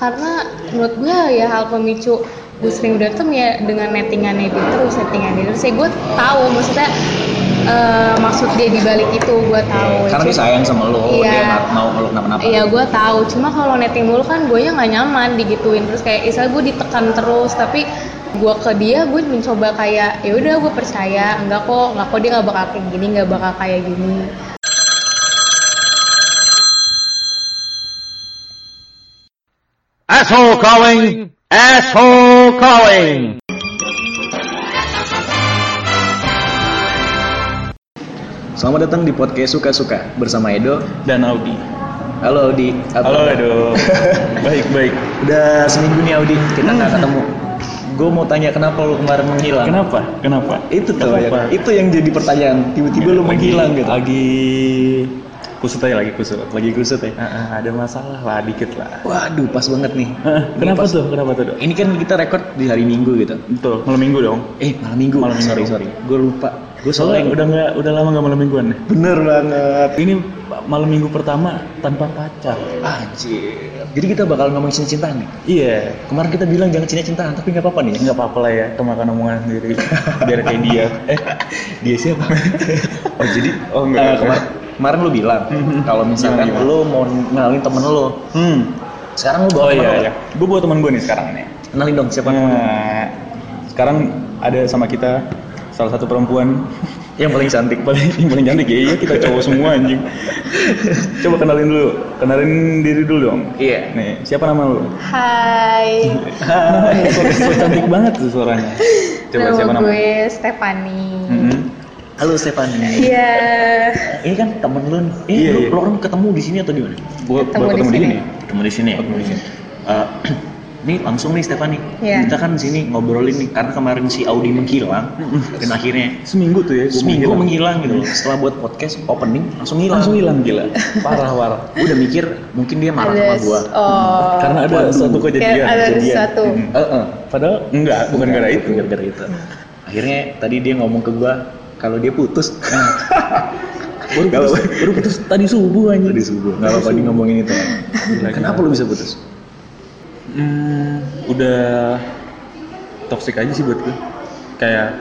karena menurut gue ya hal pemicu gue sering udah tem ya dengan nettingannya dia terus nettingannya terus ya gue tahu maksudnya eh, maksud dia dibalik itu gue tahu Karena dia Cuma- sayang sama lo, Iya. dia nggak mau kalau kenapa-napa. Iya gue tahu, cuma kalau netting mulu kan gue nggak nyaman digituin terus kayak istilah gue ditekan terus tapi gue ke dia gue mencoba kayak ya udah gue percaya enggak kok enggak kok dia nggak bakal kayak gini nggak bakal kayak gini Asshole calling! Asshole calling! Selamat datang di podcast suka-suka bersama Edo. Dan Audi. Halo Audi. Apa Halo kabar? Edo. baik baik. Udah seminggu nih Audi kita nggak Hmm. ketemu. Gue mau tanya kenapa lo kemarin menghilang? Kenapa? Kenapa? Itu tuh, yang, Kenapa? itu yang jadi pertanyaan. Tiba-tiba lo Lagi- menghilang gitu. Lagi kusut aja lagi kusut. Lagi kusut ya. Ah, ah, ada masalah lah dikit lah. Waduh, pas banget nih. Ah, Ini kenapa pas- tuh? Kenapa tuh? Dok? Ini kan kita rekod di hari Minggu gitu. Betul. Malam minggu dong. Eh, malam Minggu. Malam Minggu. sorry, sorry. Gue lupa. Gue Soalnya soalnya udah nggak udah lama nggak malam mingguan. ya? bener banget. Ini malam minggu pertama tanpa pacar. Anjir. Jadi kita bakal ngomong cinta-cintaan nih. Iya. Kemarin kita bilang jangan cinta-cintaan, tapi nggak apa-apa nih. nggak apa-apa lah ya kemakan omongan sendiri biar kayak dia eh Dia siapa? oh jadi oh enggak Eh, kemar- kemarin lu bilang kalau misalkan Gimana, gimana? lu mau kenalin temen lu, hmm sekarang lu bawa oh temen iya lu. iya gue buat teman gue nih sekarang nih Kenalin dong siapa? Nah, sekarang ada sama kita salah satu perempuan Yang paling cantik. paling yang paling cantik ya iya kita cowok semua anjing coba kenalin dulu kenalin diri dulu dong Iya. nih siapa nama lu Hai Hmm, Suara- suara cantik banget tuh suaranya coba siapa Hmm. nama nama gue Stefani Mm-mm. Halo Stefani. iya Ini kan temen lu. nih. Eh, Iya, lu, iya. lu orang ketemu di sini atau di mana? Gua Ketemu baru di ketemu di sini. sini Ketemu di sini. ya? Ketemu di sini. Eh, ini langsung nih Stefani. Iya. Kita kan di sini ngobrolin nih karena kemarin si Audi menghilang dan akhirnya seminggu tuh ya gua seminggu menghilang menghilang. gitu. loh. Setelah buat podcast opening langsung hilang. langsung hilang gila parah parah Gue udah mikir mungkin dia marah ada sama gua. s- oh karena ada Waduh. satu kejadian Kayak ada kejadian. satu. Mm. Eh, eh. padahal enggak bukan gara itu Bukan gara itu. Akhirnya tadi dia ngomong ke gua kalau dia putus. baru Kalau- putus, baru putus tadi subuh anjing Tadi subuh. Enggak apa-apa dia ngomongin itu. Kenapa lu bisa putus? Hmm, udah toxic aja sih buat gue. Kayak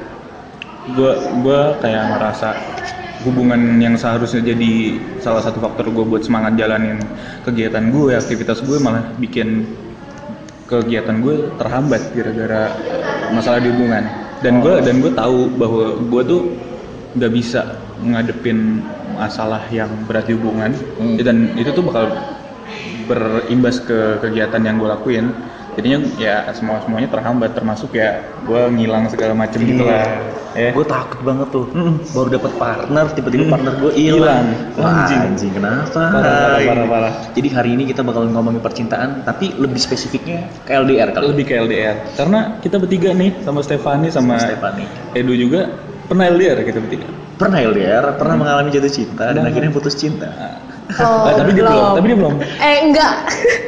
gue gue kayak ngerasa hubungan yang seharusnya jadi salah satu faktor gue buat semangat jalanin kegiatan gue, aktivitas gue malah bikin kegiatan gue terhambat gara-gara masalah di hubungan. Dan gue dan gue tahu bahwa gue tuh nggak bisa ngadepin masalah yang berat di hubungan Hmm. dan itu tuh bakal berimbas ke kegiatan yang gue lakuin jadinya ya semua semuanya terhambat termasuk ya gue ngilang segala macem gitu Iya. lah ya Gue takut banget tuh. Mm. Baru dapat partner, tiba-tiba Mm. partner gue hilang. Hilang. Wah, Anjing. Anjing. kenapa? Parah, parah, parah, parah. Jadi hari ini kita bakal ngomongin percintaan, tapi lebih spesifiknya ke LDR kali. lebih ke LDR karena kita bertiga nih sama Stefani sama, Stefani. Edu juga pernah LDR kita bertiga Pernah LDR, pernah mengalami jatuh cinta dan Hmm. Pernah. akhirnya putus cinta. Oh, Eh, tapi dia belum tapi dia belum eh enggak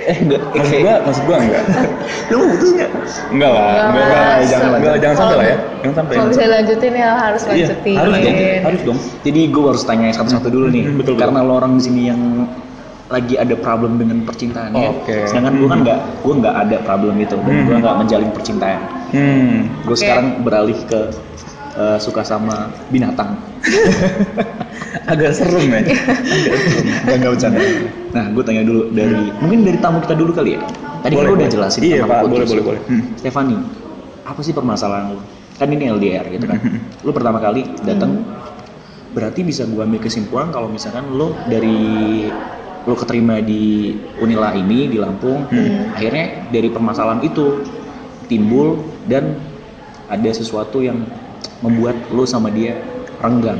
eh enggak maksud gue maksud gue enggak Lu mau putus nggak? enggak lah Enggak enggak lah lah, jangan so- enggak lah, jangan sampai lah ya jangan sampai kalau bisa lanjutin ya harus Iya, lanjutin Eh, harus dong harus dong Jadi gue harus tanya satu-satu dulu nih, Mm, betul, betul. karena lo orang di sini yang lagi ada problem dengan percintaannya. Oke. Sedangkan gue kan Mm. nggak, gue nggak ada problem itu, dan Mm. gue nggak menjalin percintaan. hmm Gue Oke. sekarang beralih ke eh, suka sama binatang. agak serem ya Gak nggak bercanda. Nah, gue tanya dulu dari mungkin dari tamu kita dulu kali ya. Tadi kan Boleh, lo udah boleh. jelasin Iya, tentang Pak, putus. boleh, boleh, boleh. Hmm. Stefani, apa sih permasalahan lo? Kan ini LDR gitu kan. lo pertama kali datang, berarti bisa gue ambil kesimpulan kalau misalkan lo dari lo keterima di Unila ini di Lampung, akhirnya dari permasalahan itu timbul dan ada sesuatu yang membuat lo sama dia renggang.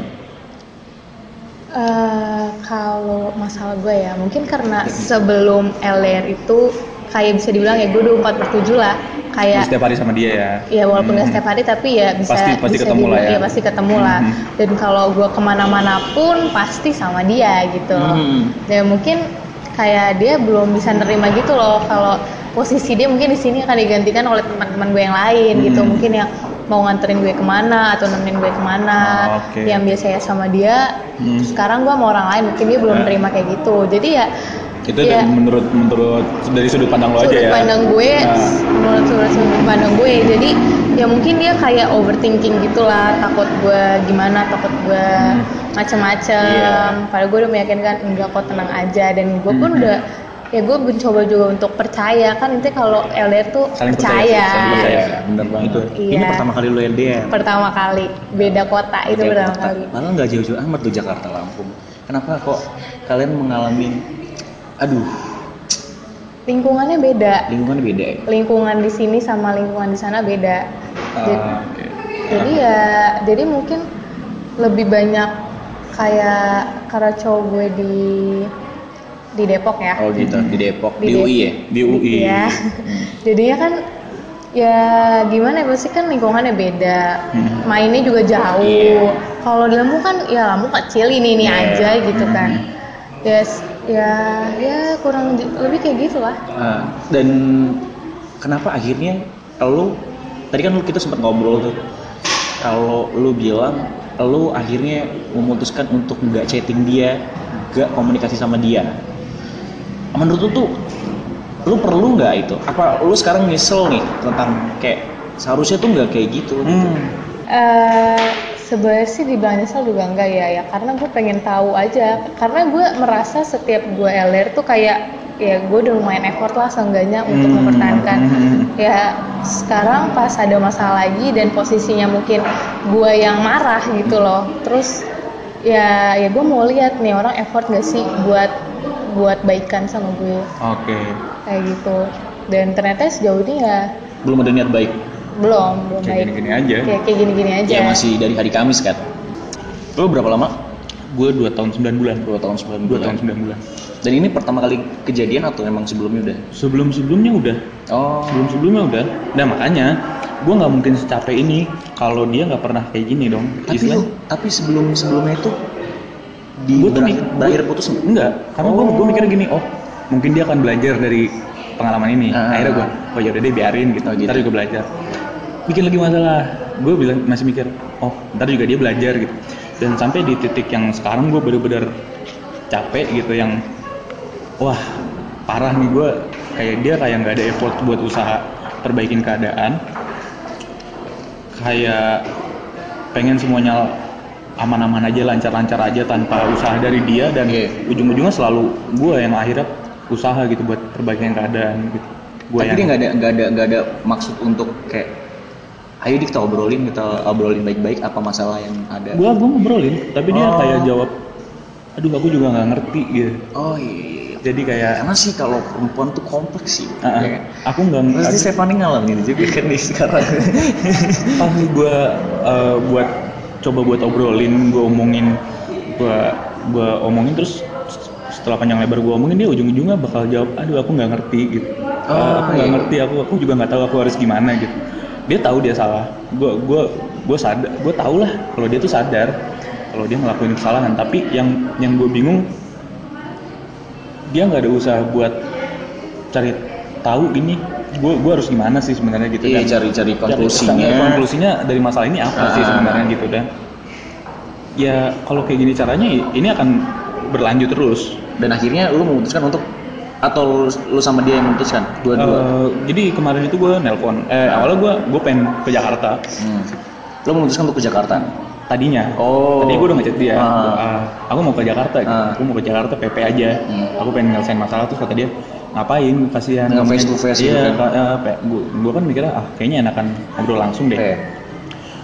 Eh, kalau masalah gue ya mungkin karena sebelum LDR itu kayak bisa dibilang ya gue udah 4 per 7 lah Lu kayak setiap hari sama dia ya ya Iya. walaupun nggak setiap hari tapi ya bisa Pasti- pasti bisa ketemu lah dibilang- ya. iya, pasti ketemu lah Mhm. dan kalau gue kemana-mana pun pasti sama dia gitu Hmm. dan mungkin kayak dia belum bisa nerima gitu loh kalau posisi dia mungkin di sini akan digantikan oleh teman-teman gue yang lain gitu Hmm. mungkin yang mau nganterin gue kemana atau nemenin gue kemana Oh, oke. yang biasanya sama dia Hmm. sekarang gue sama orang lain mungkin dia belum Nah. nerima kayak gitu jadi ya itu dari- Iya. menurut menurut dari sudut pandang lo aja sudut ya pandang gue Nah, menurut sudut, sudut pandang gue jadi ya mungkin dia kayak overthinking gitulah takut gue gimana takut gue macem-macem Hmm. Iya. padahal gue udah meyakinkan enggak kok tenang aja dan gue pun Mhm. udah ya gue mencoba juga untuk percaya kan intinya kalau LDR tuh saling percaya, percaya, sih, saling percaya bener banget Itu. ini Iya. pertama kali lo LDR pertama kali beda kota itu Beda pertama kota. kali malah nggak jauh-jauh amat tuh Jakarta Lampung kenapa kok kalian mengalami aduh lingkungannya beda lingkungan beda ya lingkungan di sini sama lingkungan di sana beda Jadi- ah, oke. jadi ya jadi mungkin lebih banyak kayak karena cowok gue di di Depok ya oh gitu di Depok Di di, Depok. UI ya di UI Iya. jadinya kan ya gimana ya, pasti kan lingkungannya beda Hmm. mainnya juga jauh Iya. kalau di Lampung kan ya Lampung kecil ini ini Iya. aja gitu kan Hmm. yes ya ya kurang di- lebih kayak gitu lah Ah, dan kenapa akhirnya lo tadi kan lu kita sempat ngobrol tuh kalau lu bilang lu akhirnya memutuskan untuk nggak chatting dia nggak komunikasi sama dia menurut lu tuh lu perlu nggak itu apa lu sekarang nyesel nih tentang kayak seharusnya tuh nggak kayak gitu Hmm. eh sebenarnya sih dibilang nyesel juga enggak ya ya karena gue pengen tahu aja karena gue merasa setiap gue LDR tuh kayak ya gue udah lumayan effort lah seenggaknya untuk Hmm. mempertahankan Hmm. ya sekarang pas ada masalah lagi dan posisinya mungkin gue yang marah gitu loh terus ya ya gue mau lihat nih orang effort gak sih buat buat baikan sama gue oke kayak gitu dan ternyata sejauh ini ya belum ada niat baik belum belum Kayak baik gini-gini aja. Iya, Kayak- kayak gini-gini aja ya masih dari hari Kamis kan lu berapa lama gue dua tahun 9 bulan dua tahun sembilan dua bulan tahun 9 bulan dan ini pertama kali kejadian atau emang sebelumnya udah sebelum sebelumnya udah oh sebelum sebelumnya udah nah makanya gue nggak mungkin secapek ini kalau dia nggak pernah kayak gini dong tapi lu, tapi sebelum sebelumnya itu di Gua tuh berakhir, mik- berakhir gua- putus nggak? enggak karena gue Oh. gue mikir gini oh mungkin dia akan belajar dari pengalaman ini Ah. akhirnya gue oh ya udah deh biarin gitu, Oh, gitu. ntar juga belajar bikin lagi masalah gue bilang masih mikir oh ntar juga dia belajar gitu dan sampai di titik yang sekarang gue bener-bener capek gitu yang wah parah nih gue kayak dia kayak nggak ada effort buat usaha perbaikin keadaan kayak pengen semuanya aman-aman aja lancar-lancar aja tanpa usaha dari dia dan Iya. ujung-ujungnya selalu gue yang akhirnya usaha gitu buat perbaikin keadaan gitu gue tapi yang dia nggak ada nggak ada nggak ada maksud untuk kayak ayo dik kita obrolin kita obrolin baik-baik apa masalah yang ada gue gue ngobrolin tapi dia Oh. kayak jawab aduh aku juga nggak ngerti gitu oh iya, iya. jadi kayak karena sih kalau perempuan tuh kompleks sih "Ah, ah, ya kan? aku nggak Pasti aku- Stephanie ngalamin itu juga kan nih sekarang. pas gue buat coba buat obrolin gue omongin gue gue omongin terus setelah panjang lebar gue omongin dia ujung-ujungnya bakal jawab aduh aku nggak ngerti gitu Eh, Oh, aku nggak iya. ngerti aku aku juga nggak tahu aku harus gimana gitu dia tahu dia salah gue gue gue sadar gue tau lah kalau dia tuh sadar kalau dia ngelakuin kesalahan tapi yang yang gue bingung dia nggak ada usaha buat cari tahu ini gue gue harus gimana sih sebenarnya gitu Iya Dan- cari-cari Cari konklusinya. kesan- konklusinya dari masalah ini apa sih Ah. sebenarnya gitu dan ya kalau kayak gini caranya ini akan berlanjut terus Dan akhirnya lu memutuskan untuk atau lu, lu sama dia yang memutuskan dua-dua. Eh, jadi kemarin itu gue nelpon eh awalnya gue gue pengen ke Jakarta Hmm. Lu memutuskan untuk ke Jakarta. tadinya Oh. tadi gue udah ngechat dia Ah. Gua, "Ah, aku mau ke Jakarta gitu. Ah. aku mau ke Jakarta PP aja Hmm. aku pengen nyelesain masalah terus kata dia ngapain kasihan Dengan face to face gitu iya kan. gue gue kan mikirnya ah kayaknya enakan ngobrol langsung deh Eh,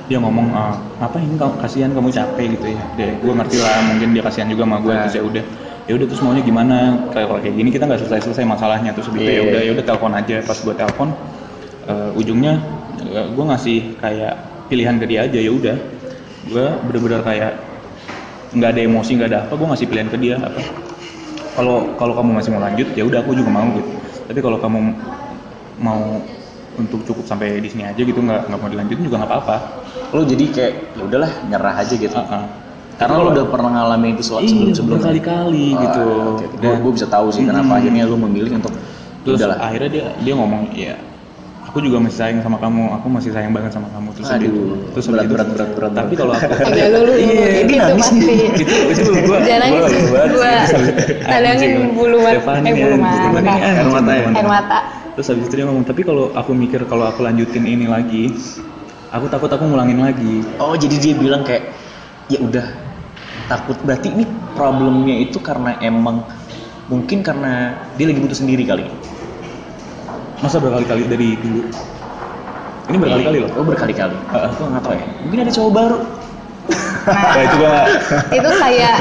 dia ngomong "Ah, ngapain kamu kasihan kamu capek gitu ya deh gue ngerti lah mungkin dia kasihan juga sama gue Nah. terus ya udah ya udah terus maunya gimana kayak kalau kayak gini kita nggak selesai selesai masalahnya terus gitu ya Iya. udah ya udah telepon aja pas gue telepon eh, ujungnya gue ngasih kayak pilihan ke dia aja ya udah gue bener-bener kayak nggak ada emosi nggak ada apa gue ngasih pilihan ke dia apa kalau kalau kamu masih mau lanjut ya udah aku juga mau gitu tapi kalau kamu mau untuk cukup sampai di sini aja gitu nggak nggak mau dilanjutin juga nggak apa-apa lu jadi kayak ya udahlah nyerah aja gitu. Heeh. Karena lo udah pernah ngalamin itu sel- Iya, sebelum sebelumnya Ah, iya, udah kali-kali gitu. Gue bisa tahu sih kenapa Mm-mm. akhirnya lo memilih untuk Terus udahlah. akhirnya dia dia ngomong ya aku juga masih sayang sama kamu aku masih sayang banget sama kamu terus Aduh, gitu terus habis berat, itu- berat, berat, berat, tapi berat. kalau aku agak ya, dulu Iya, ini gitu nangis nih. pasti itu itu gua Jangan nangis, lalu banget sih. gua Terus habis- tandangin anjing, bulu mata- Stephanie, eh, bulu anjing, mata. Stephanie, anjing, Air mata ya? teman-teman. air mata terus habis itu dia ngomong tapi kalau aku mikir kalau aku lanjutin ini lagi aku takut aku ngulangin lagi Oh jadi dia bilang kayak ya udah takut berarti ini problemnya itu karena emang mungkin karena dia lagi butuh sendiri kali. masa berkali-kali dari dulu ini berkali-kali loh Oh berkali-kali. Heeh. Aku nggak tahu ya. Mungkin ada cowok baru. nah itu gua nggak- itu kayak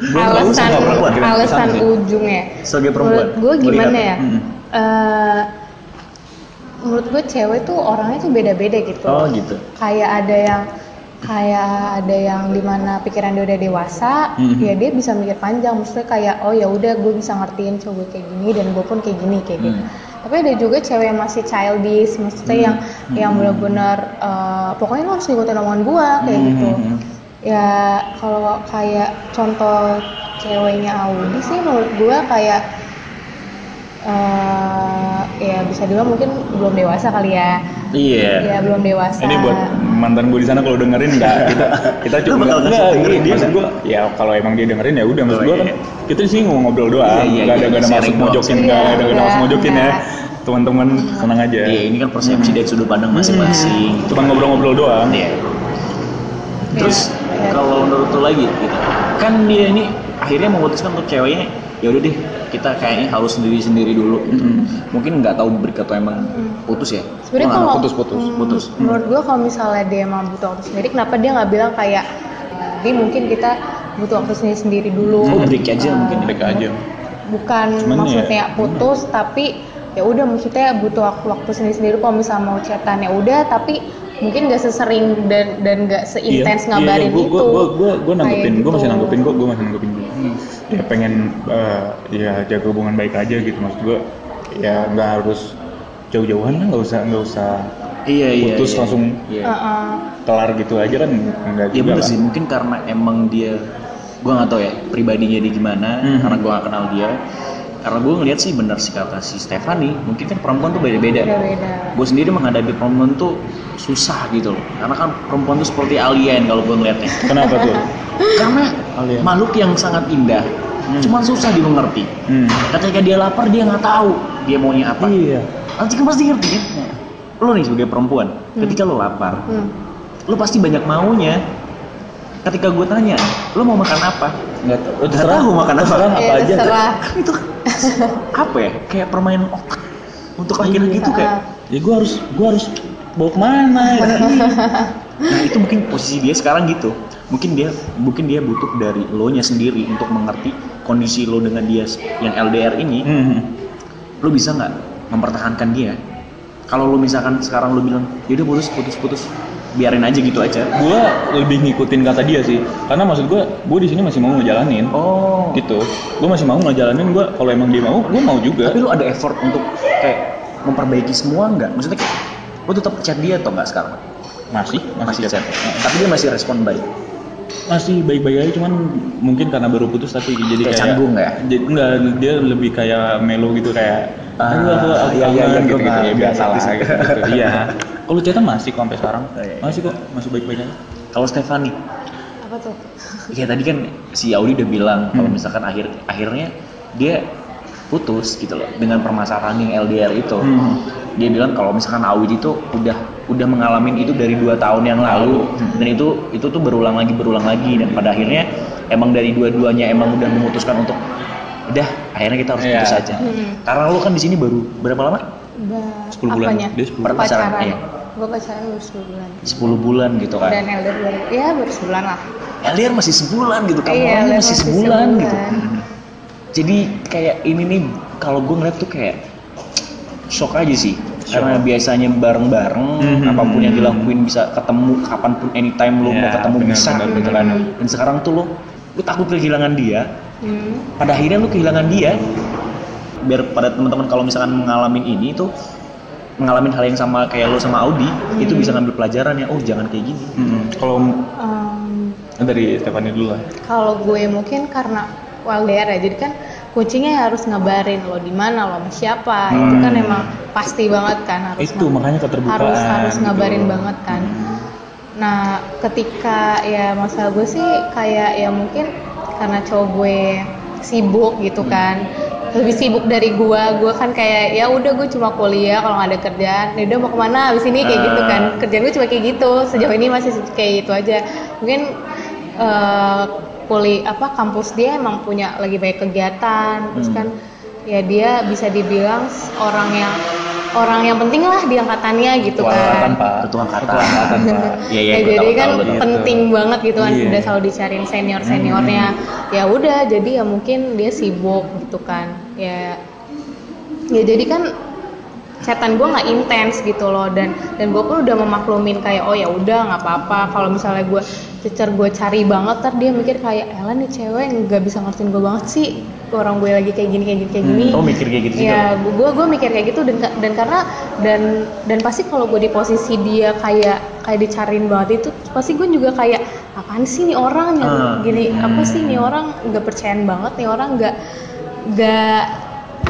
Belum tahu alasan sama perempuan, gimana? alasan Sama sih. ujungnya Sebagai perempuan, gue gimana melihat. ya Mm-mm. Eh, menurut gue cewek tuh orangnya tuh beda-beda gitu Oh gitu. kayak ada yang kayak ada yang dimana pikiran dia udah dewasa Mhm. ya dia bisa mikir panjang maksudnya kayak oh ya udah gue bisa ngertiin cowok gue kayak gini dan gue pun kayak gini kayak gitu Mm. Hmm. tapi ada juga cewek yang masih childish maksudnya yang Mm-hmm. yang benar-benar eh, pokoknya lo harus ngikutin omongan gue kayak gitu Mhm. ya kalau kayak contoh ceweknya Audi sih menurut gue kayak eh, ya bisa dibilang mungkin belum dewasa kali ya Iya. Ya belum dewasa. Ini buat mantan gue di sana kalau dengerin nggak kita kita Lu cuma bakal nggak- ngasih nggak, dengerin ini dia maksud nggak? gue ya kalau emang dia dengerin ya udah maksud Oh, gue iya. kan kita sih mau ngobrol Iya, doang iya, nggak ada iya, nggak ada maksud sharing doang. mojokin Iya, nggak ada nggak ada maksud enggak, mojokin ya enggak. teman-teman tenang aja Iya ini kan persepsi dari sudut pandang masing-masing. cuma ngobrol-ngobrol doang Iya. Terus Ya, ya. kalau menurut lu lagi gitu, kan dia ini akhirnya memutuskan untuk ceweknya ya udah deh kita kayaknya harus sendiri-sendiri dulu. gitu. Mm. Mungkin nggak tahu berkat atau emang putus ya. Sebenarnya Wah, kalau putus putus hmm, putus. Menurut gua kalau misalnya dia emang butuh waktu sendiri, kenapa dia nggak bilang kayak di mungkin kita butuh waktu sendiri sendiri dulu. Oh break aja Eh, mungkin. mereka aja Bukan Cuman ya, maksudnya putus, tapi ya udah maksudnya butuh waktu, waktu sendiri sendiri. Kalau misalnya mau chatan ya udah, tapi mungkin nggak sesering dan dan nggak Iya. seintens Iya. ngabarin gue, itu. Gue gue gue nanggepin, Kayak gue masih gitu. nanggepin, gue gue masih nanggepin dulu. Hmm. Ya pengen eh, ya jaga hubungan baik aja gitu maksud gue. Ya nggak harus jauh-jauhan lah, nggak usah nggak usah Iya iya. Putus iya. langsung. Iya. Heeh. kelar gitu aja kan nggak Iya juga bener lah. sih, mungkin karena emang dia gua nggak tahu ya pribadinya dia gimana, Hmm. karena gua nggak kenal dia. Karena gua ngeliat sih bener sih kata si Stefani, mungkin kan perempuan tuh beda-beda. Beda-beda. Gue sendiri menghadapi perempuan tuh susah gitu loh, karena kan perempuan tuh seperti alien kalau gua ngeliatnya. Kenapa tuh? Karena Alien. makhluk yang sangat indah, Hmm. cuman susah dimengerti. Hmm. Ketika dia lapar dia nggak tahu dia maunya apa. Iya. Nanti kan pasti ngerti kan? Lo nih sebagai perempuan, ketika lo lapar, Hmm. lu pasti banyak maunya ketika gue tanya lu mau makan apa Nggak tahu. Nggak tahu makan apa. Oh, Terserah Ya, apa aja. terserah. kan itu apa ya kayak permainan otak untuk laki-laki itu kayak Ya gue harus gue harus bawa kemana? ya? nah itu mungkin posisi dia sekarang gitu mungkin dia mungkin dia butuh dari lo nya sendiri untuk mengerti kondisi lo dengan dia yang LDR ini Hmm. lu bisa nggak mempertahankan dia kalau lu misalkan sekarang lu bilang yaudah putus putus putus biarin aja gitu aja Gue lebih ngikutin kata dia sih, karena maksud gue gue di sini masih mau ngejalanin. oh gitu gue masih mau ngejalanin gue kalau emang dia mau gue mau juga tapi lu ada effort untuk kayak memperbaiki semua nggak maksudnya kayak lu tetap chat dia atau nggak sekarang masih masih, masih chat chat. tapi dia masih respon baik masih baik-baik aja cuman mungkin karena baru putus tapi jadi Kayak kayak, canggung nggak ya? jadi enggak dia lebih kayak melo gitu kayak Ah, aduh aku aku iya, iya, kangen," iya, gitu gua gitu ya paham. biasa lah Ngerti sih. gitu, gitu. iya kalau chatan masih kok sampai sekarang Oh, iya, iya. masih kok masih baik-baik aja kalau Stefani Apa tuh? ya tadi kan si Audi udah bilang kalau Hmm. misalkan akhir akhirnya dia putus gitu loh dengan permasalahan yang LDR itu Hmm. dia bilang kalau misalkan Audi itu udah udah mengalami itu dari dua tahun yang lalu Hmm. dan itu itu tuh berulang lagi berulang lagi dan pada akhirnya emang dari dua-duanya emang udah memutuskan untuk udah akhirnya kita harus Iya. putus aja Hmm. karena lu kan di sini baru berapa lama Ba- 10 bulan. apanya? Dia 10 bulan. pacaran. Pacaran, iya. Gue pacaran baru 10 bulan. 10 bulan gitu kan Dan elder baru, ya baru sebulan lah. LDR masih sebulan gitu kamu Iya, LDR masih masih sebulan, sebulan. gitu jadi kayak ini nih kalau gue ngeliat tuh kayak shock aja sih karena biasanya bareng-bareng Mhm. apapun yang dilakuin bisa ketemu kapanpun anytime lo mau Iya, ketemu benar, bisa benar, gitu benar. kan. dan sekarang tuh lo lo takut kehilangan dia Hmm. pada akhirnya lu kehilangan dia biar pada teman-teman kalau misalkan mengalami ini tuh mengalami hal yang sama kayak lo sama Audi Mhm. itu bisa ngambil pelajaran ya oh jangan kayak gini Mm-mm. kalau Em, um, dari Stefani dulu lah kalau gue mungkin karena LDR ya, jadi kan coachingnya ya harus ngabarin lo di mana lo sama siapa itu kan Hmm. emang pasti banget kan harus itu ngab- makanya keterbukaan harus harus gitu. ngabarin banget kan Hmm. nah ketika ya masa gue sih kayak ya mungkin karena cowok gue sibuk gitu kan lebih sibuk dari gue gue kan kayak ya udah gue cuma kuliah kalau nggak ada kerjaan ya udah mau kemana abis ini kayak gitu kan Ah. kerjaan gue cuma kayak gitu sejauh ini masih kayak itu aja mungkin eh kuli apa kampus dia emang punya lagi banyak kegiatan terus Hmm. kan ya dia bisa dibilang s- orang yang orang yang penting lah di angkatannya gitu Ketua kan angkatan, Pak. Ketua angkatan. Ketua angkatan, Pak. Iya, iya, Ya, gue jadi tahu, kan tahu, gue tahu. penting banget gitu kan Iya. udah selalu dicariin senior seniornya Hmm. ya udah jadi ya mungkin dia sibuk gitu kan ya ya jadi kan chatan gue nggak intens gitu loh dan dan gue pun udah memaklumin kayak oh ya udah nggak apa-apa kalau misalnya gue cecer gue cari banget ntar dia mikir kayak Ella nih cewek nggak bisa ngertiin gue banget sih orang gue lagi kayak gini kayak gini kayak gini oh mikir kayak gitu juga ya gue gue mikir kayak gitu dan ka- dan karena dan dan pasti kalau gue di posisi dia kayak kayak dicariin banget itu pasti gue juga kayak apaan sih nih orang yang Ah, gini apa sih nih orang nggak percayaan banget nih orang nggak nggak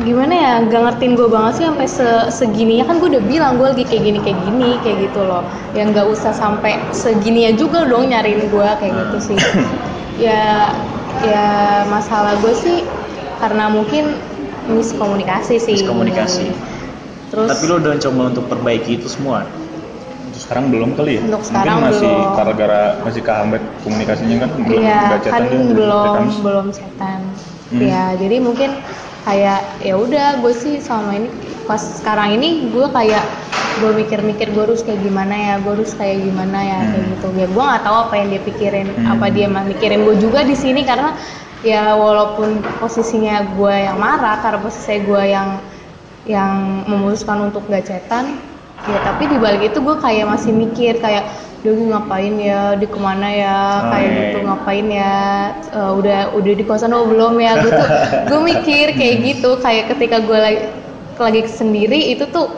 gimana ya nggak ngertiin gue banget sih sampai se segininya kan gue udah bilang gue lagi kayak gini kayak gini kayak gitu loh yang nggak usah sampai segininya juga dong nyariin gue kayak gitu sih ya ya masalah gue sih karena mungkin miskomunikasi sih Miskomunikasi. terus tapi lo udah coba untuk perbaiki itu semua Untuk sekarang belum kali ya? Untuk sekarang Mungkin masih belum. gara-gara masih kehambat komunikasinya kan belum Iya, nggak kan chatan ya, belum text. belum setan. Hmm. Ya, jadi mungkin kayak ya udah gue sih selama ini pas sekarang ini gue kayak gue mikir-mikir gue harus kayak gimana ya, gue harus kayak gimana ya kayak gitu. Ya gue nggak tahu apa yang dia pikirin, Hmm. apa dia mah mikirin gue juga di sini karena ya walaupun posisinya gue yang marah karena posisinya gue yang yang memutuskan untuk gak cetan ya tapi di balik itu gue kayak masih mikir kayak duh gue ngapain ya di kemana ya kayak Oke. gitu ngapain ya Eh, udah udah di kosan oh belum ya gue tuh gue mikir kayak Hmm. gitu kayak ketika gue lagi, lagi sendiri itu tuh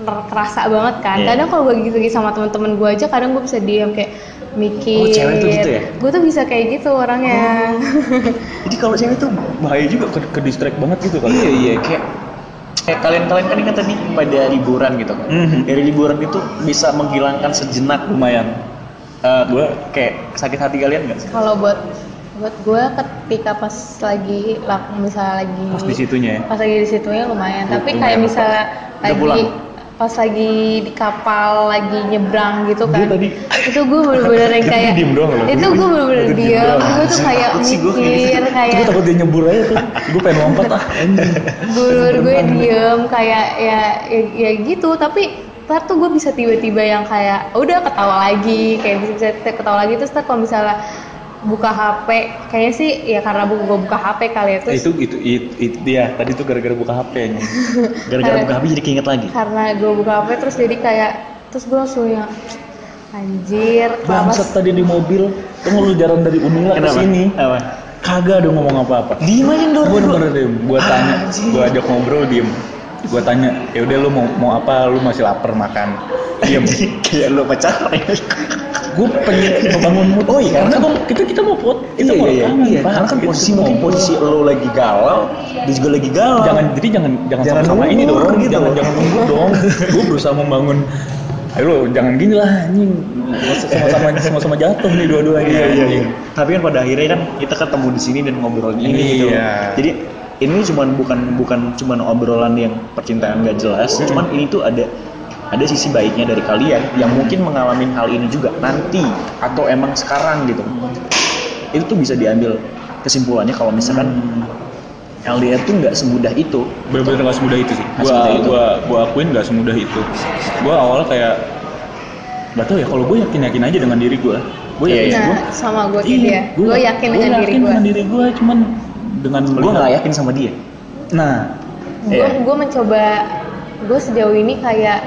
ker- kerasa banget kan Iya. kadang kalau gue gitu sama teman-teman gue aja kadang gue bisa diam kayak mikir Oh, cewek tuh gitu ya? Oh. gue tuh bisa kayak gitu orangnya jadi kalau cewek tuh bahaya juga ke, ke distract banget gitu kali. iya iya kayak kayak kalian-kalian kan ingat tadi pada liburan gitu kan Mhm. dari liburan itu bisa menghilangkan sejenak lumayan Eh, Gua- kayak sakit hati kalian nggak sih kalau buat buat gue ketika pas lagi lak- misalnya lagi Pas di situnya ya. pas lagi di situ ya lumayan Lu- tapi lumayan kayak apa? misalnya Udah lagi pulang? pas lagi di kapal lagi nyebrang gitu Gua kan tadi itu gue bener-bener yang Dia kayak diem doang loh. itu gue bener-bener Dia diem diam doang. gue tuh Anjing, kayak takut sih gua kayak mikir Gue kayak takut dia nyebur aja tuh. Gue pengen lompat ah. anjing. dulur gue diem kayak ya, ya ya gitu tapi ntar tuh gue bisa tiba-tiba yang kayak udah ketawa lagi kayak bisa, bisa ketawa lagi terus ntar kalau misalnya buka HP kayaknya sih ya karena bu- gue buka HP kali ya Eh, terus itu itu itu, itu dia tadi tuh gara-gara buka HP anjing. gara-gara Kayak- buka HP jadi keinget lagi karena gue buka HP terus jadi kayak terus gue langsung yang anjir kenapa Bangsat tadi di mobil, tuh lu jalan dari Unila ke sini. apa Kagak ada ngomong apa-apa. diem aja yang gue dua bener diem gue tanya Anjing. gue ajak ngobrol diem gue tanya ya udah lu mau mau apa lu masih lapar makan Eh, Iya, diem kayak lo pacaran gue pengen membangun mood Oh iya, karena gua- kita kita mau pot kita iya mau iya iya, rekaman, iya. Pak. karena kan Gitu. posisi mungkin posisi lo lagi galau dia juga lagi galau jangan jadi jangan jangan, Jangan sama, ini ngubur dong gitu. jangan jangan nunggu dong gue berusaha membangun ayo lu jangan gini lah anjing sama-sama sama-sama jatuh nih dua-duanya Iya iya iya. anjing. Tapi kan pada akhirnya kan kita ketemu di sini dan ngobrolnya ini gitu. Iya. Jadi ini cuman bukan bukan cuman obrolan yang percintaan gak jelas, Hmm. cuman ini tuh ada ada sisi baiknya dari kalian yang Hmm. mungkin mengalami hal ini juga nanti atau emang sekarang gitu. Hmm. Itu tuh bisa diambil kesimpulannya kalau misalkan Hmm. LDR tuh nggak semudah itu. bener-bener gak semudah itu sih Nggak gua semudah itu. gua gua akuin gak semudah itu gua awalnya kayak gak tau ya kalau gue yakin yakin aja dengan diri gua gue Iya, yakin iya. gua nah sama gue kayak dia iya, gue yakin gua dengan diri gue dengan diri gue cuman dengan Gue melihat- nggak yakin sama dia. nah gue Iya. gue mencoba gue sejauh ini kayak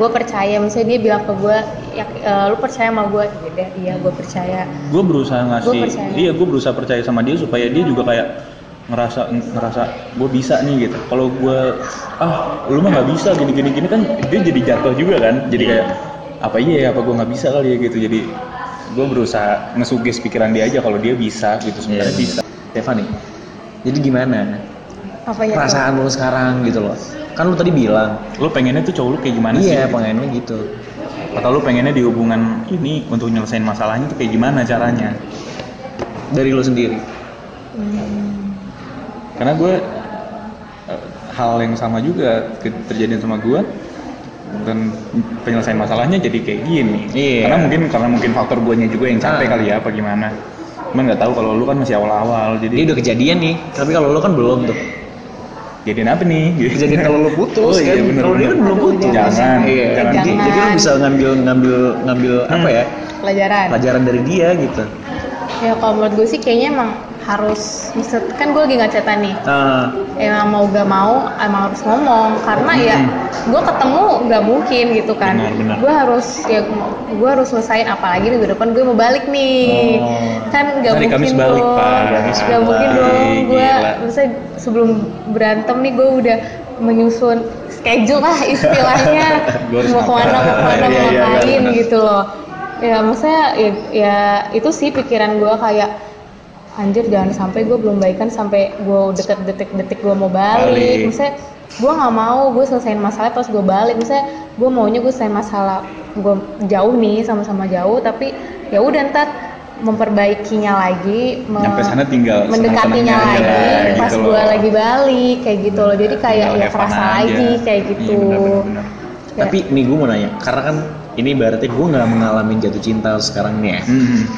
gue percaya misalnya dia bilang ke gue ya, eh, lu percaya sama gue ya udah, iya gue percaya gue berusaha ngasih Gua percaya. iya gue berusaha percaya sama dia supaya dia juga kayak ngerasa ngerasa gue bisa nih gitu kalau gue ah lu mah nggak bisa gini gini gini kan dia jadi jatuh juga kan jadi kayak apa iya ya apa gue nggak bisa kali ya gitu jadi gue berusaha ngesuges pikiran dia aja kalau dia bisa gitu sebenarnya Iya. bisa Stefani, Jadi gimana? apa Iya. ya Perasaan lu sekarang gitu loh. Kan lu tadi bilang, Lu pengennya tuh cowok lu kayak gimana sih? iya gitu? pengen lu gitu. Atau lu pengennya di hubungan ini untuk nyelesain masalahnya tuh kayak gimana caranya? Dari lu sendiri. Karena gue eh, hal yang sama juga ke- terjadi sama gue dan penyelesaian masalahnya jadi kayak gini. Iya. Karena mungkin karena mungkin faktor guanya juga yang capek Ah. kali ya apa gimana. Cuman nggak tahu kalau lu kan masih awal-awal Dia jadi udah kejadian nih, tapi kalau lu kan belum tuh. jadiin apa nih? Kejadian kalau lu putus Oh iya, kan, bener, kalau dia bener. kan belum putus. Jangan, Iya. jangan. Jadi, jadi lu bisa ngambil ngambil ngambil apa ya? pelajaran Pelajaran dari dia gitu. ya kalau menurut gue sih kayaknya emang harus misal- kan gue lagi ngacetan nih Nah, emang mau gak mau emang harus ngomong karena ya gue ketemu nggak mungkin gitu kan Hmm. Benar, benar. gue harus ya gue harus selesain apalagi minggu depan gue mau balik nih Oh. kan nggak Hari mungkin Kamis balik, dong. Pak. nggak mungkin Kamis dong balik, gue gila. misalnya sebelum berantem nih gue udah menyusun schedule lah istilahnya Gua harus mau kemana mau ngapain. kemana Iya, mau iya, iya, ngapain benar. gitu loh ya maksudnya ya, ya itu sih pikiran gue kayak anjir jangan sampai gue belum baikan sampai gue deket detik-detik gue mau Balik. balik misalnya gue nggak mau gue selesaiin masalah pas gue balik misalnya gue maunya gue selesai masalah gue jauh nih sama-sama jauh tapi ya udah ntar memperbaikinya lagi me- Nyampe sana tinggal mendekatinya senang-senangnya lagi aja lah, pas gitu gue loh. lagi balik kayak gitu loh jadi kayak Tinggal ya have fun kerasa aja. lagi kayak Iya, gitu benar-benar. Ya. Tapi nih gue mau nanya, karena kan ini berarti gue nggak mengalami jatuh cinta sekarang nih ya. Hmm,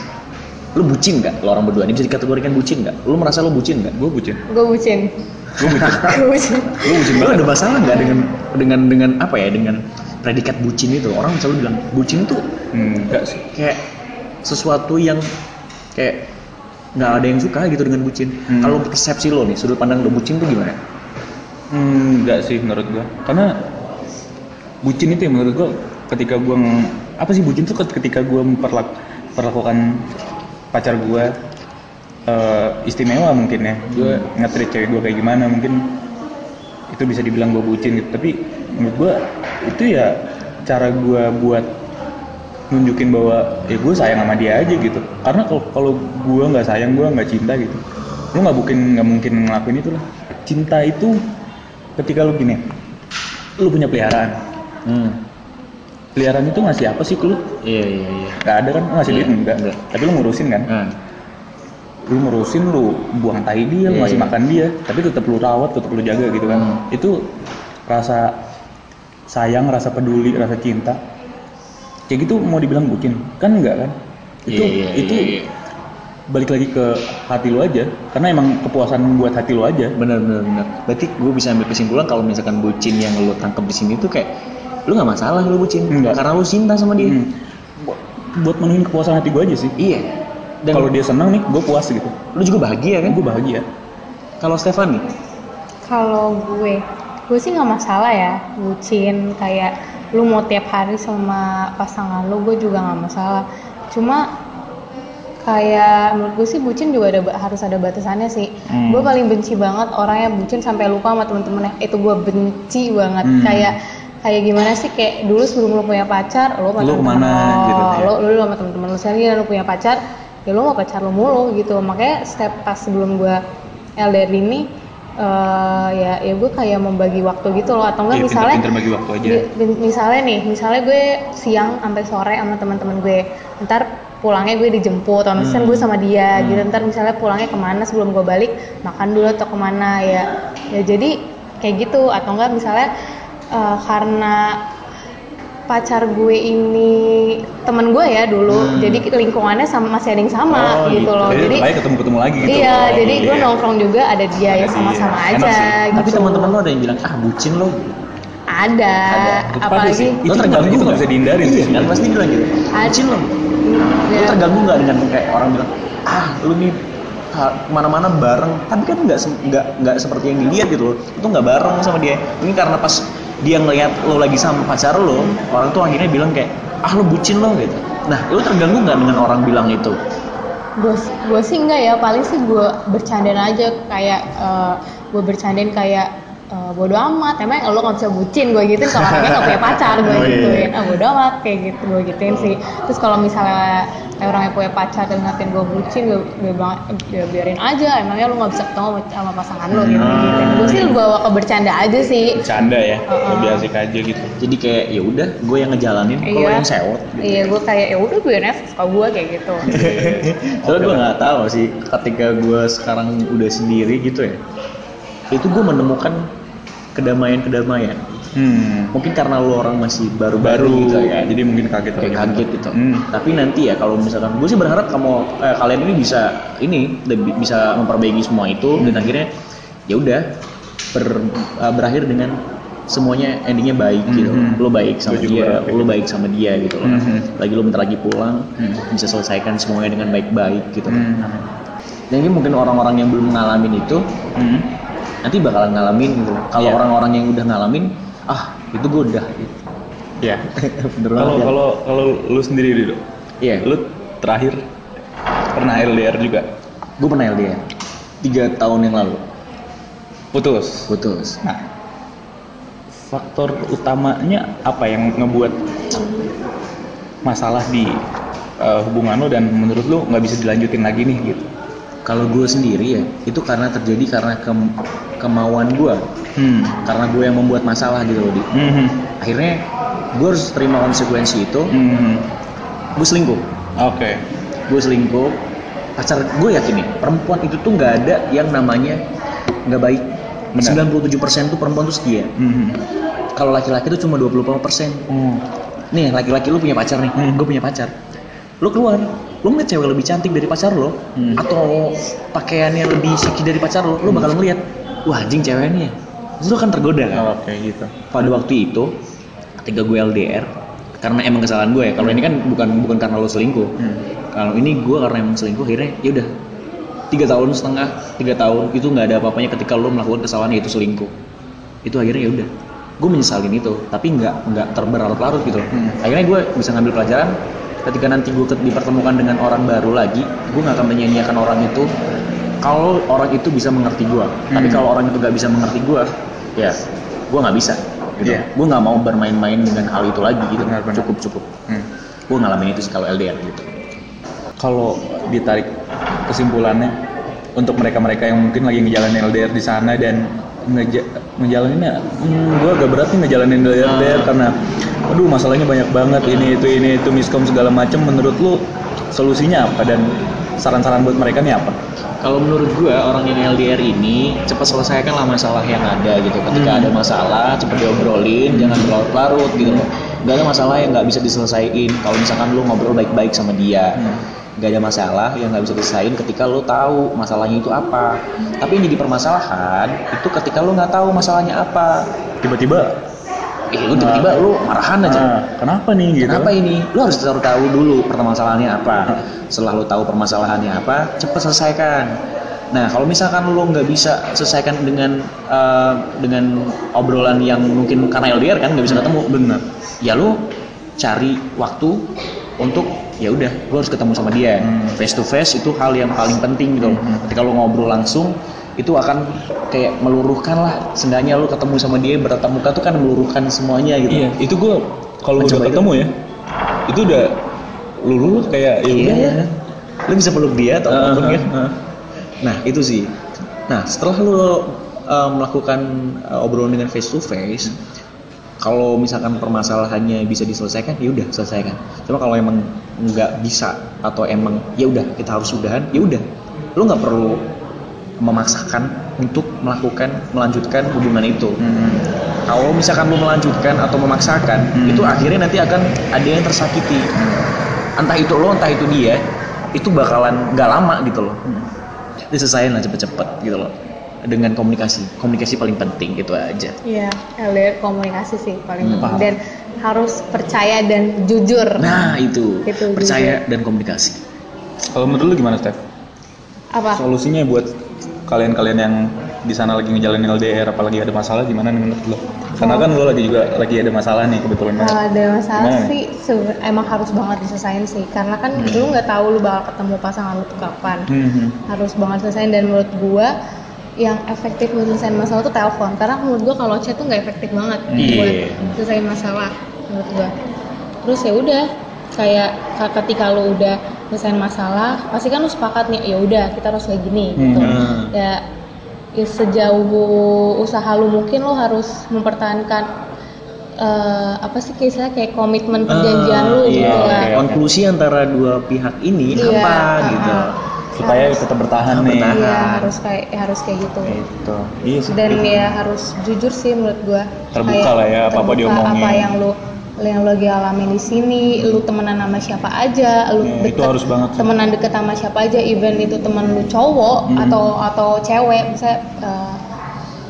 Lu bucin nggak? Lo orang berdua ini bisa dikategorikan bucin nggak? Lu merasa lu bucin nggak? gue bucin. gue bucin Gue bucin. gue bucin Lu bucin banget. ada masalah nggak dengan dengan dengan apa ya? Dengan predikat bucin itu orang selalu bilang bucin tuh Hmm, Enggak sih. kayak sesuatu yang kayak nggak ada yang suka gitu dengan bucin. Hmm. Kalau persepsi lo nih, sudut pandang lo bucin tuh gimana? Hmm, enggak sih menurut gua. Karena bucin itu ya menurut gua ketika gua nge- apa sih bucin itu ketika gua memperlak perlakukan pacar gua eh, istimewa mungkin ya. Gua nge-treat cewek gua kayak gimana mungkin itu bisa dibilang gua bucin gitu. Tapi menurut gua itu ya cara gua buat nunjukin bahwa ya gue sayang sama dia aja gitu karena kalau kalau gue nggak sayang gue nggak cinta gitu lu nggak mungkin nggak mungkin ngelakuin itu lah cinta itu ketika lu gini lu punya peliharaan Hmm. peliharaan itu ngasih apa sih ke lu Iya iya iya. nggak ada kan Lu ngasih Iya, duit enggak enggak. tapi lu ngurusin kan Nah, lu ngurusin lu buang tai dia lu Iya, ngasih iya. makan dia tapi tetap lu rawat tetap lu jaga gitu kan Hmm. itu rasa sayang rasa peduli rasa cinta kayak gitu mau dibilang bucin kan enggak kan itu Iya, iya, itu iya, iya. balik lagi ke hati lu aja karena emang kepuasan buat hati lu aja Benar benar benar. Berarti gue bisa ambil kesimpulan kalau misalkan bucin yang lo tangkap di sini tuh kayak lu nggak masalah lu bucin Nggak. karena lu cinta sama dia. Hmm. Bu- buat menuhin kepuasan hati gua aja sih Iya. Dan kalau dia senang nih gue puas gitu lu juga bahagia kan? gue bahagia Kalau Stefan nih, Kalau gue, gue sih nggak masalah ya, bucin kayak lu mau tiap hari sama pasangan lu, gue juga nggak masalah. Cuma kayak menurut gue sih bucin juga ada ba- harus ada batasannya sih. Hmm. Gue paling benci banget orang yang bucin sampai lupa sama temen-temennya. Itu gue benci banget. Hmm. Kayak kayak gimana sih kayak dulu sebelum lu punya pacar, lu sama Lu temen-temen kemana lo, gitu ya. lu lu dulu sama temen-temen lu sendiri dan lu punya pacar ya lu mau pacar lu mulu gitu makanya step pas sebelum gua LDR ini eh, ya ya gue kayak membagi waktu gitu loh atau Iya, enggak misalnya pinter-pinter bagi waktu aja di- di- misalnya nih misalnya gue siang sampai sore sama teman-teman gue ntar pulangnya gue dijemput atau misalnya Hmm. gue sama dia gitu ntar misalnya pulangnya kemana sebelum gue balik makan dulu atau kemana ya ya jadi kayak gitu atau enggak misalnya eh, karena pacar gue ini temen gue ya dulu jadi lingkungannya sama masih ada yang sama Oh, gitu, gitu. loh jadi Hmm. jadi ketemu ketemu lagi gitu iya Oh, jadi gue iya. nongkrong juga ada dia Ada yang dia. sama-sama Enak aja sih. gitu tapi teman-teman lo ada yang bilang ah bucin lo. ada, Itu pasti apalagi sih. Itu Lo nggak- itu nggak nggak? bisa dihindarin Iya sih. kan pasti bilang gitu. Ada. Bucin lo. Lo Ya. terganggu nggak dengan kayak orang bilang ah lu nih ah, kemana-mana bareng tapi kan nggak se- nggak nggak seperti yang dilihat gitu loh itu nggak bareng sama dia ini karena pas dia ngelihat lo lagi sama pacar lo orang tuh akhirnya bilang kayak ah lo bucin lo gitu nah lo terganggu nggak dengan orang bilang itu gue gue sih enggak ya paling sih gue bercandain aja kayak eh gue bercandain kayak eh, bodo amat emang lo nggak bisa bucin gue gituin kalau orangnya nggak punya pacar gue Oh, iya. gituin ah bodo amat kayak gitu gue gituin sih Oh. terus kalau misalnya kayak orangnya punya pacar dan ngatain gue bucin gue gue bilang "Ya, biarin aja emangnya lo nggak bisa ketemu sama pasangan lo gitu Hmm. gituin gue sih bawa ke bercanda aja sih bercanda ya Heeh. lebih asik aja gitu jadi kayak ya udah gue yang ngejalanin kalau lo Iya. yang sewot gitu. iya gue kayak ya udah biarin aja suka gue kayak gitu Soalnya gue nggak tahu sih ketika gue sekarang udah sendiri gitu ya itu gue menemukan kedamaian-kedamaian hmm. mungkin karena lo orang masih baru baru-baru gitu ya jadi mungkin kaget kayak aja. kaget gitu. Hmm. Tapi nanti ya kalau misalkan gue sih berharap kamu eh, kalian ini bisa ini lebih- bisa memperbaiki semua itu dan akhirnya ya udah ber- eh, berakhir dengan semuanya endingnya baik gitu. Mhm. Lo baik sama Gua juga dia, berharap kayak lo baik sama dia gitu. loh. Mhm. Lagi lo bentar lagi pulang Mhm. bisa selesaikan semuanya dengan baik-baik gitu. Hmm. Jadi mungkin orang-orang yang belum ngalamin itu Hmm. nanti bakalan ngalamin gitu. Kalau Iya. orang-orang yang udah ngalamin, ah itu gue udah. Gitu. ya Bener kalau banget ya. kalau kalau lu sendiri dulu Iya. lu terakhir pernah LDR juga gue pernah LDR tiga tahun yang lalu putus putus nah faktor utamanya apa yang ngebuat masalah di eh, hubungan lu dan menurut lu nggak bisa dilanjutin lagi nih gitu kalau gue sendiri ya itu karena terjadi karena kem- kemauan gue hmm. karena gue yang membuat masalah gitu loh Di. Hmm. akhirnya gue harus terima konsekuensi itu Hmm. gue selingkuh oke gue selingkuh pacar gue yakin nih perempuan itu tuh nggak ada yang namanya nggak baik Benar. 97% tuh perempuan tuh setia Hmm. kalau laki-laki tuh cuma 20% Oh. nih laki-laki lu punya pacar nih Hmm. gue punya pacar lu keluar lu ngeliat cewek lebih cantik dari pacar lo Hmm. atau pakaiannya lebih siki dari pacar lo lu bakal ngeliat wah anjing ceweknya Terus lu kan tergoda kan oke gitu pada waktu itu ketika gue LDR karena emang kesalahan gue ya kalau ini kan bukan bukan karena lo selingkuh Hmm. kalau ini gue karena emang selingkuh akhirnya yaudah tiga tahun setengah tiga tahun itu nggak ada apa-apanya ketika lo melakukan kesalahan yaitu selingkuh itu akhirnya ya udah gue menyesalin itu tapi nggak nggak terberlarut-larut gitu loh. Hmm. akhirnya gue bisa ngambil pelajaran ketika nanti gue ket- dipertemukan dengan orang baru lagi gue nggak akan menyanyiakan orang itu kalau orang itu bisa mengerti gue tapi Hmm. kalau orang itu nggak bisa mengerti gue ya gue nggak bisa gitu Iya. gue nggak mau bermain-main dengan hal itu lagi gitu Benar, benar. cukup cukup Hmm. gue ngalamin itu sih kalau LDR gitu kalau ditarik kesimpulannya untuk mereka-mereka yang mungkin lagi ngejalanin LDR di sana dan ngeja ngejalaninnya hmm, gue agak berat nih ngejalanin LDR, karena aduh masalahnya banyak banget ini itu ini itu miskom segala macam menurut lu solusinya apa dan saran-saran buat mereka nih apa? kalau menurut gue orang yang LDR ini cepat selesaikan lah masalah yang ada gitu ketika Hmm. ada masalah cepat diobrolin jangan berlarut-larut gitu loh gak ada masalah yang nggak bisa diselesaikan kalau misalkan lu ngobrol baik-baik sama dia Hmm. gak ada masalah yang nggak bisa diselesain ketika lo tahu masalahnya itu apa tapi yang jadi permasalahan itu ketika lo nggak tahu masalahnya apa Tiba-tiba eh lu tiba-tiba lo marahan aja ah, kenapa nih gitu? Kenapa ini? Lo harus tahu tahu dulu permasalahannya apa. Setelah lo tahu permasalahannya apa, cepet selesaikan. Nah, kalau misalkan lo nggak bisa selesaikan dengan eh, dengan obrolan yang mungkin karena LDR kan nggak bisa ketemu, Bener. ya lo cari waktu untuk ya udah gue harus ketemu sama dia Hmm. face to face itu hal yang paling penting gitu loh. Hmm. ketika lo ngobrol langsung itu akan kayak meluruhkan lah seenggaknya lo ketemu sama dia bertatap muka tuh kan meluruhkan semuanya gitu Iya, itu gue kalau udah Mencoba itu. ketemu ya, itu udah lulu kayak ya Iya udah ya. Lu bisa peluk dia atau apapun Ah, kan. ah. Nah, itu sih. Nah, setelah lu eh, melakukan eh, obrolan dengan face to face, kalau misalkan permasalahannya bisa diselesaikan, ya udah selesaikan. Cuma kalau emang nggak bisa atau emang ya udah kita harus udahan, ya udah. Lu nggak perlu memaksakan untuk melakukan melanjutkan hubungan itu. Hmm. Kalau misalkan lu melanjutkan atau memaksakan, Hmm. itu akhirnya nanti akan ada yang tersakiti entah itu lo entah itu dia itu bakalan nggak lama gitu loh Hmm. diselesain lah cepet-cepet gitu loh dengan komunikasi komunikasi paling penting gitu aja Iya, LDR komunikasi sih paling Hmm. penting dan harus percaya dan jujur. nah itu, Itu percaya dan komunikasi Kalau menurut lu gimana, Steph? Apa? Solusinya buat kalian-kalian yang di sana lagi ngejalanin LDR apalagi ada masalah gimana nih menurut lo? Karena kan lo lagi juga lagi ada masalah nih kebetulan kan. Kalau banget. ada Eh, masalah Nah. Gimana? sih sebe- emang harus banget diselesain sih karena kan Hmm. lu nggak tahu lu bakal ketemu pasangan lu tuh kapan. Hmm, hmm. Harus banget diselesain dan menurut gua yang efektif buat nyelesain masalah tuh telepon karena menurut gua kalau chat tuh nggak efektif banget Iya. buat selesai masalah menurut gua terus ya udah kayak ka- ketika lo udah nyelesain masalah pasti kan lo sepakat nih ya udah kita harus kayak gini gitu Hmm. ya, ya sejauh usaha lo mungkin lo harus mempertahankan eh, apa sih kisah kayak komitmen perjanjian lo Ah, gitu iya, lah oke, oke. Konklusi antara dua pihak ini Iya, apa ah, gitu. ah. supaya Harus. tetap bertahan nih Bertahan. Iya harus kayak harus kayak gitu. gitu Nah. iya sih Dan ya harus jujur sih menurut gua. Terbuka lah ya, apa-apa terbuka, diomongin. Apa yang lu yang lu lagi alamin di sini, lu temenan sama siapa aja, lu Ya, itu harus banget sih. Temenan deket sama siapa aja, even itu temen lu cowok Hmm. atau atau cewek, misalnya eh,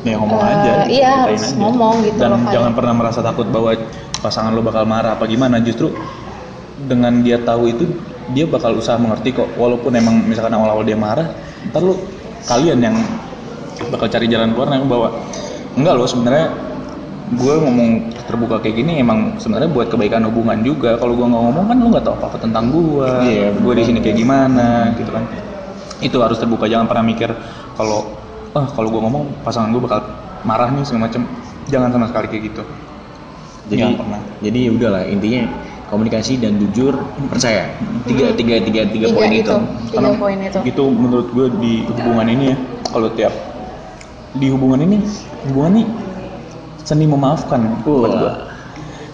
ya ngomong Eh, aja gitu, iya, ceritain harus ngomong gitu dan loh, Pak. jangan pernah merasa takut bahwa pasangan lo bakal marah apa gimana justru dengan dia tahu itu dia bakal usaha mengerti kok walaupun emang misalkan awal-awal dia marah ntar lo kalian yang bakal cari jalan keluar yang bawa enggak lo sebenarnya gue ngomong terbuka kayak gini emang sebenarnya buat kebaikan hubungan juga kalau gue nggak ngomong kan lo nggak tahu apa apa tentang gue Iya, gue di benar. sini kayak gimana gitu kan itu harus terbuka jangan pernah mikir kalau ah kalau gue ngomong pasangan gue bakal marah nih segala macem jangan sama sekali kayak gitu Jadi Jangan pernah. jadi ya udahlah intinya komunikasi dan jujur Hmm. percaya. Tiga tiga tiga tiga Hmm. tiga poin itu, itu. tiga poin itu. itu gitu menurut gue di hubungan ini ya kalau tiap di hubungan ini hubungan nih seni memaafkan buat gue Wah.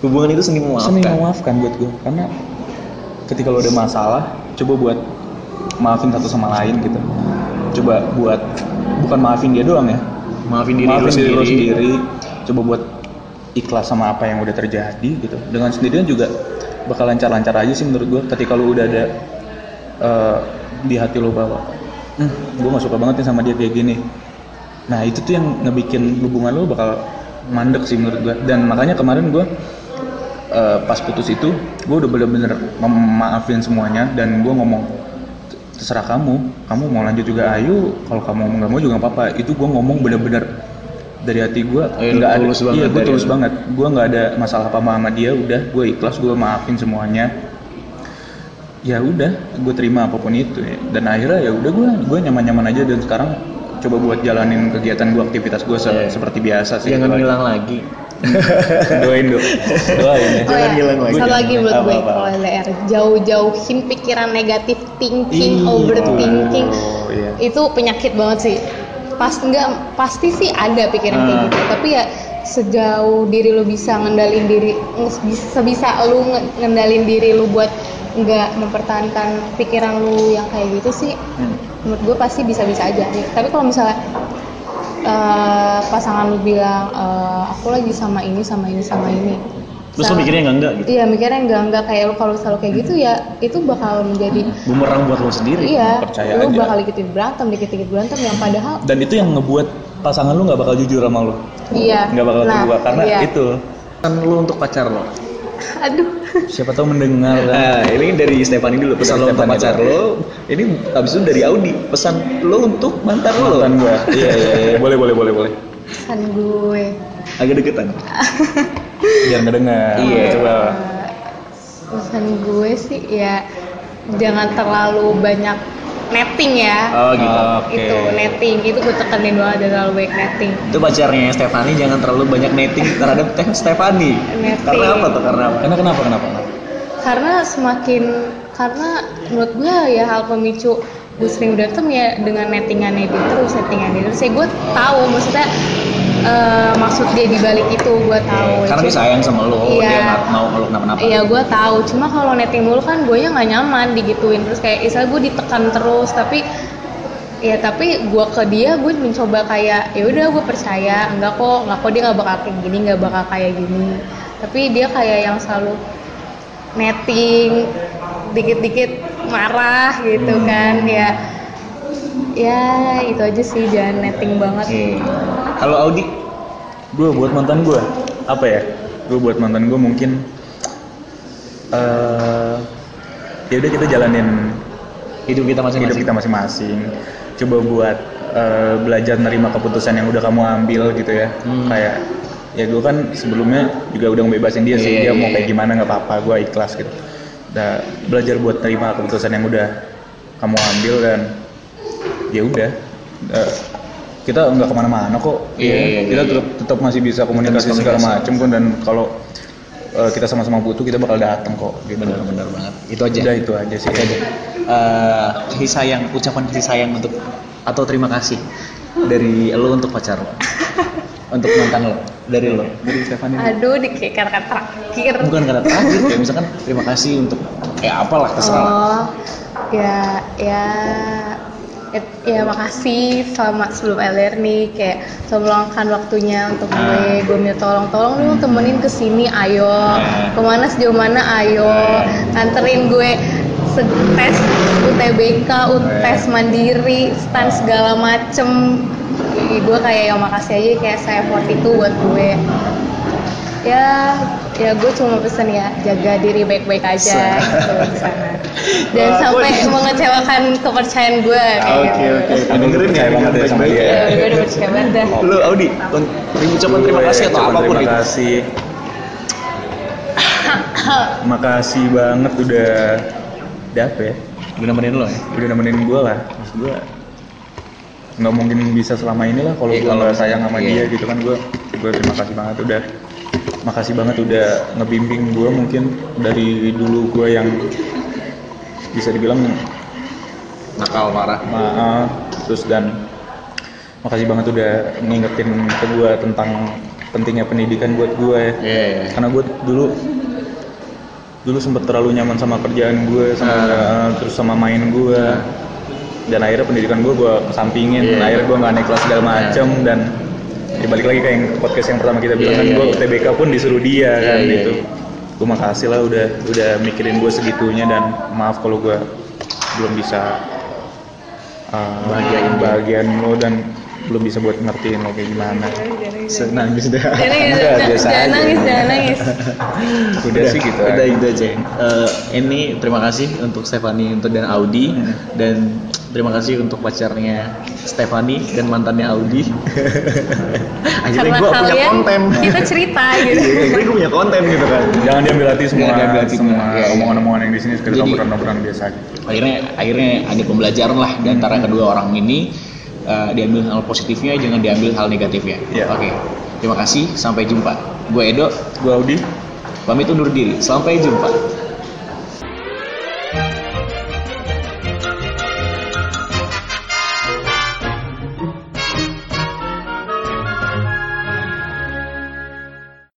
Hubungan itu seni kan? seni memaafkan. memaafkan buat gue karena ketika lo ada masalah coba buat maafin satu sama lain gitu coba buat bukan maafin dia doang ya Maafin diri lu maafin diri lo sendiri. sendiri coba buat ikhlas sama apa yang udah terjadi gitu dengan sendirinya juga bakal lancar-lancar aja sih menurut gue ketika lo udah ada eh, di hati lo bahwa gue gak suka banget nih sama dia kayak gini nah itu tuh yang ngebikin hubungan lo bakal mandek sih menurut gue dan makanya kemarin gue eh, pas putus itu gue udah bener-bener memaafin semuanya dan gue ngomong terserah kamu kamu mau lanjut juga ayo kalau kamu nggak mau juga nggak apa-apa itu gue ngomong bener-bener dari hati gue Ayo, nggak ada tulus banget iya gue dari tulus lu. banget gue nggak ada masalah apa sama dia udah gue ikhlas gue maafin semuanya ya udah gue terima apapun itu ya. dan akhirnya ya udah gue gue nyaman-nyaman aja dan sekarang coba buat jalanin kegiatan gue aktivitas gue Iya. seperti biasa sih Jangan Doain. ngilang lagi. doain dong doain Oh ya Jangan ya, hilang lagi. Satu lagi menurut Apa, gue apa. kalau LDR jauh-jauhin pikiran negatif, thinking, overthinking Oh, iya. itu penyakit banget sih. Pas enggak pasti sih ada pikiran kayak Ah. Hmm. gitu, tapi ya sejauh diri lu bisa ngendalin diri nge- sebisa lu nge- ngendalin diri lu buat nggak mempertahankan pikiran lu yang kayak gitu sih Hmm. menurut gue pasti bisa-bisa aja tapi kalau misalnya eh, pasangan lu bilang eh, aku lagi sama ini sama ini sama ini Terus Sama- lo mikirnya enggak enggak gitu. iya mikirnya enggak enggak kayak lu kalau selalu kayak gitu ya itu bakal menjadi Bumerang buat lo sendiri. iya percaya lu aja. bakal dikit berantem dikit-dikit berantem yang padahal dan itu yang ngebuat pasangan lu nggak bakal jujur sama lu iya nggak bakal Nah, terbuka karena iya. itu Pesan lo untuk pacar lo. aduh siapa tahu mendengar kan. Nah, ini dari Stefani dulu pesan Dari lo untuk Stefani pacar dulu. lo. Ini abis itu dari Audi pesan lo untuk mantan lo. mantan gua iya iya iya. boleh boleh boleh boleh pesan gue Agak deketan. biar nggak dengar Iya. coba Eh, pesan gue sih ya jangan terlalu banyak netting ya Oh gitu. oke itu netting itu gue tekenin banget jangan terlalu banyak netting itu pacarnya Stefani jangan terlalu banyak netting terhadap Teh Stefani Netting. karena apa tuh karena apa karena kenapa kenapa karena semakin karena menurut gue ya hal pemicu gue sering berantem ya dengan nettingannya dia terus nettingannya dia terus ya gue tahu maksudnya eh, maksud dia di balik itu gue tahu karena dia Cuma- sayang sama lo Iya. dia nggak mau kalau kenapa-napa Iya gue tahu, cuma kalau netting mulu kan gue nggak nyaman digituin terus kayak istilah gue ditekan terus tapi ya tapi gue ke dia gue mencoba kayak ya udah gue percaya enggak kok enggak kok dia nggak bakal kayak gini nggak bakal kayak gini tapi dia kayak yang selalu netting dikit-dikit marah gitu kan ya ya itu aja sih jangan netting banget Iya. kalau Audi gue buat mantan gue apa ya gue buat mantan gue mungkin eh ya udah kita jalanin hidup kita masing-masing hidup kita masing-masing coba buat eh, belajar nerima keputusan yang udah kamu ambil gitu ya Hmm. kayak ya gue kan sebelumnya juga udah ngebebasin dia Iya, sih dia iya, mau kayak iya. gimana nggak apa-apa gue ikhlas gitu nah, belajar buat nerima keputusan yang udah kamu ambil dan ya udah eh, kita nggak kemana-mana kok Iya, iya, iya, kita iya. tetap tetap masih bisa komunikasi bisa segala komunikasi. macam kan dan kalau eh, kita sama-sama butuh kita bakal datang kok gitu. benar-benar banget itu aja udah itu aja sih Itu aja. Eh, kasih sayang ucapan kasih sayang untuk atau terima kasih dari lo untuk pacar lo untuk mantan lo dari lo dari Stefani Aduh, di kayak kata-kata terakhir. bukan kata terakhir kayak misalkan terima kasih untuk ya apalah terserah lah. Oh, ya, ya, ya, ya makasih selama sebelum LDR nih kayak selalu meluangkan waktunya untuk gue. Gue minta tolong, tolong dong temenin kesini, ayo. Hmm. Kemana sejauh mana, ayo. Anterin gue se- tes UTBK, UTS mandiri, stan segala macem. Ih, Gue kayak ya makasih aja kayak saya effort itu buat gue. Ya, ya gue cuma pesen ya jaga diri baik-baik aja gitu di sana. Dan Wah, sampai gue- mengecewakan kepercayaan gue. kayak Oh. Oke gitu. oke, Oh, Aku dengerin ya, percaya banget ya sama baik-baik dia. ya. Ya, gue udah percaya banget dah. Lu Audi, un- terima ucapan terima kasih atau Ucapan apapun terima gitu. kasih makasih banget udah udah apa ya Udah nemenin lo ya. udah nemenin gue lah maksud gue nggak mungkin bisa selama ini lah kalau Iya, gue kalau- nggak sayang sama iya. dia gitu kan gue gue terima kasih banget udah makasih banget udah ngebimbing gue mungkin dari dulu gue yang bisa dibilang Nakal parah. maaf terus dan makasih banget udah ngingetin ke gue tentang pentingnya pendidikan buat ya. gue Iya iya. karena gue dulu dulu sempet terlalu nyaman sama kerjaan gue sama Ah. terus sama main gue dan akhirnya pendidikan gue gue kesampingin Iya, akhirnya gue nggak naik kelas segala macem dan ya balik lagi kayak yang podcast yang pertama kita bilang Iya, kan iya, gue iya. TBK pun disuruh dia Iya, kan iya, gitu iya. gue makasih lah udah udah mikirin gue segitunya dan maaf kalau gue belum bisa uh, Bahagiain dia. bahagian lo dan belum bisa buat ngertiin lo kayak gimana Senang gitu. Jangan nangis, Enggak, jangan- biasa jangan aja. nangis, jangan nangis. udah, sih gitu Udah aja. gitu aja. Eh, ini terima kasih untuk Stefani untuk dan Audi Hmm. dan terima kasih untuk pacarnya Stefani dan mantannya Audi. Akhirnya Karena gue punya kalian konten. kita cerita gitu. Iya, Akhirnya gue punya konten gitu kan. Jangan diambil hati semua, Jangan diambil hati semua semua. Iya, iya. omongan-omongan yang di sini sekedar Jadi- obrolan-obrolan biasa. aja. akhirnya akhirnya ada pembelajaran lah di antara kedua orang ini Eh, diambil hal positifnya jangan diambil hal negatifnya Iya. oke terima kasih sampai jumpa gue Edo Gua Audi. pamit undur diri sampai jumpa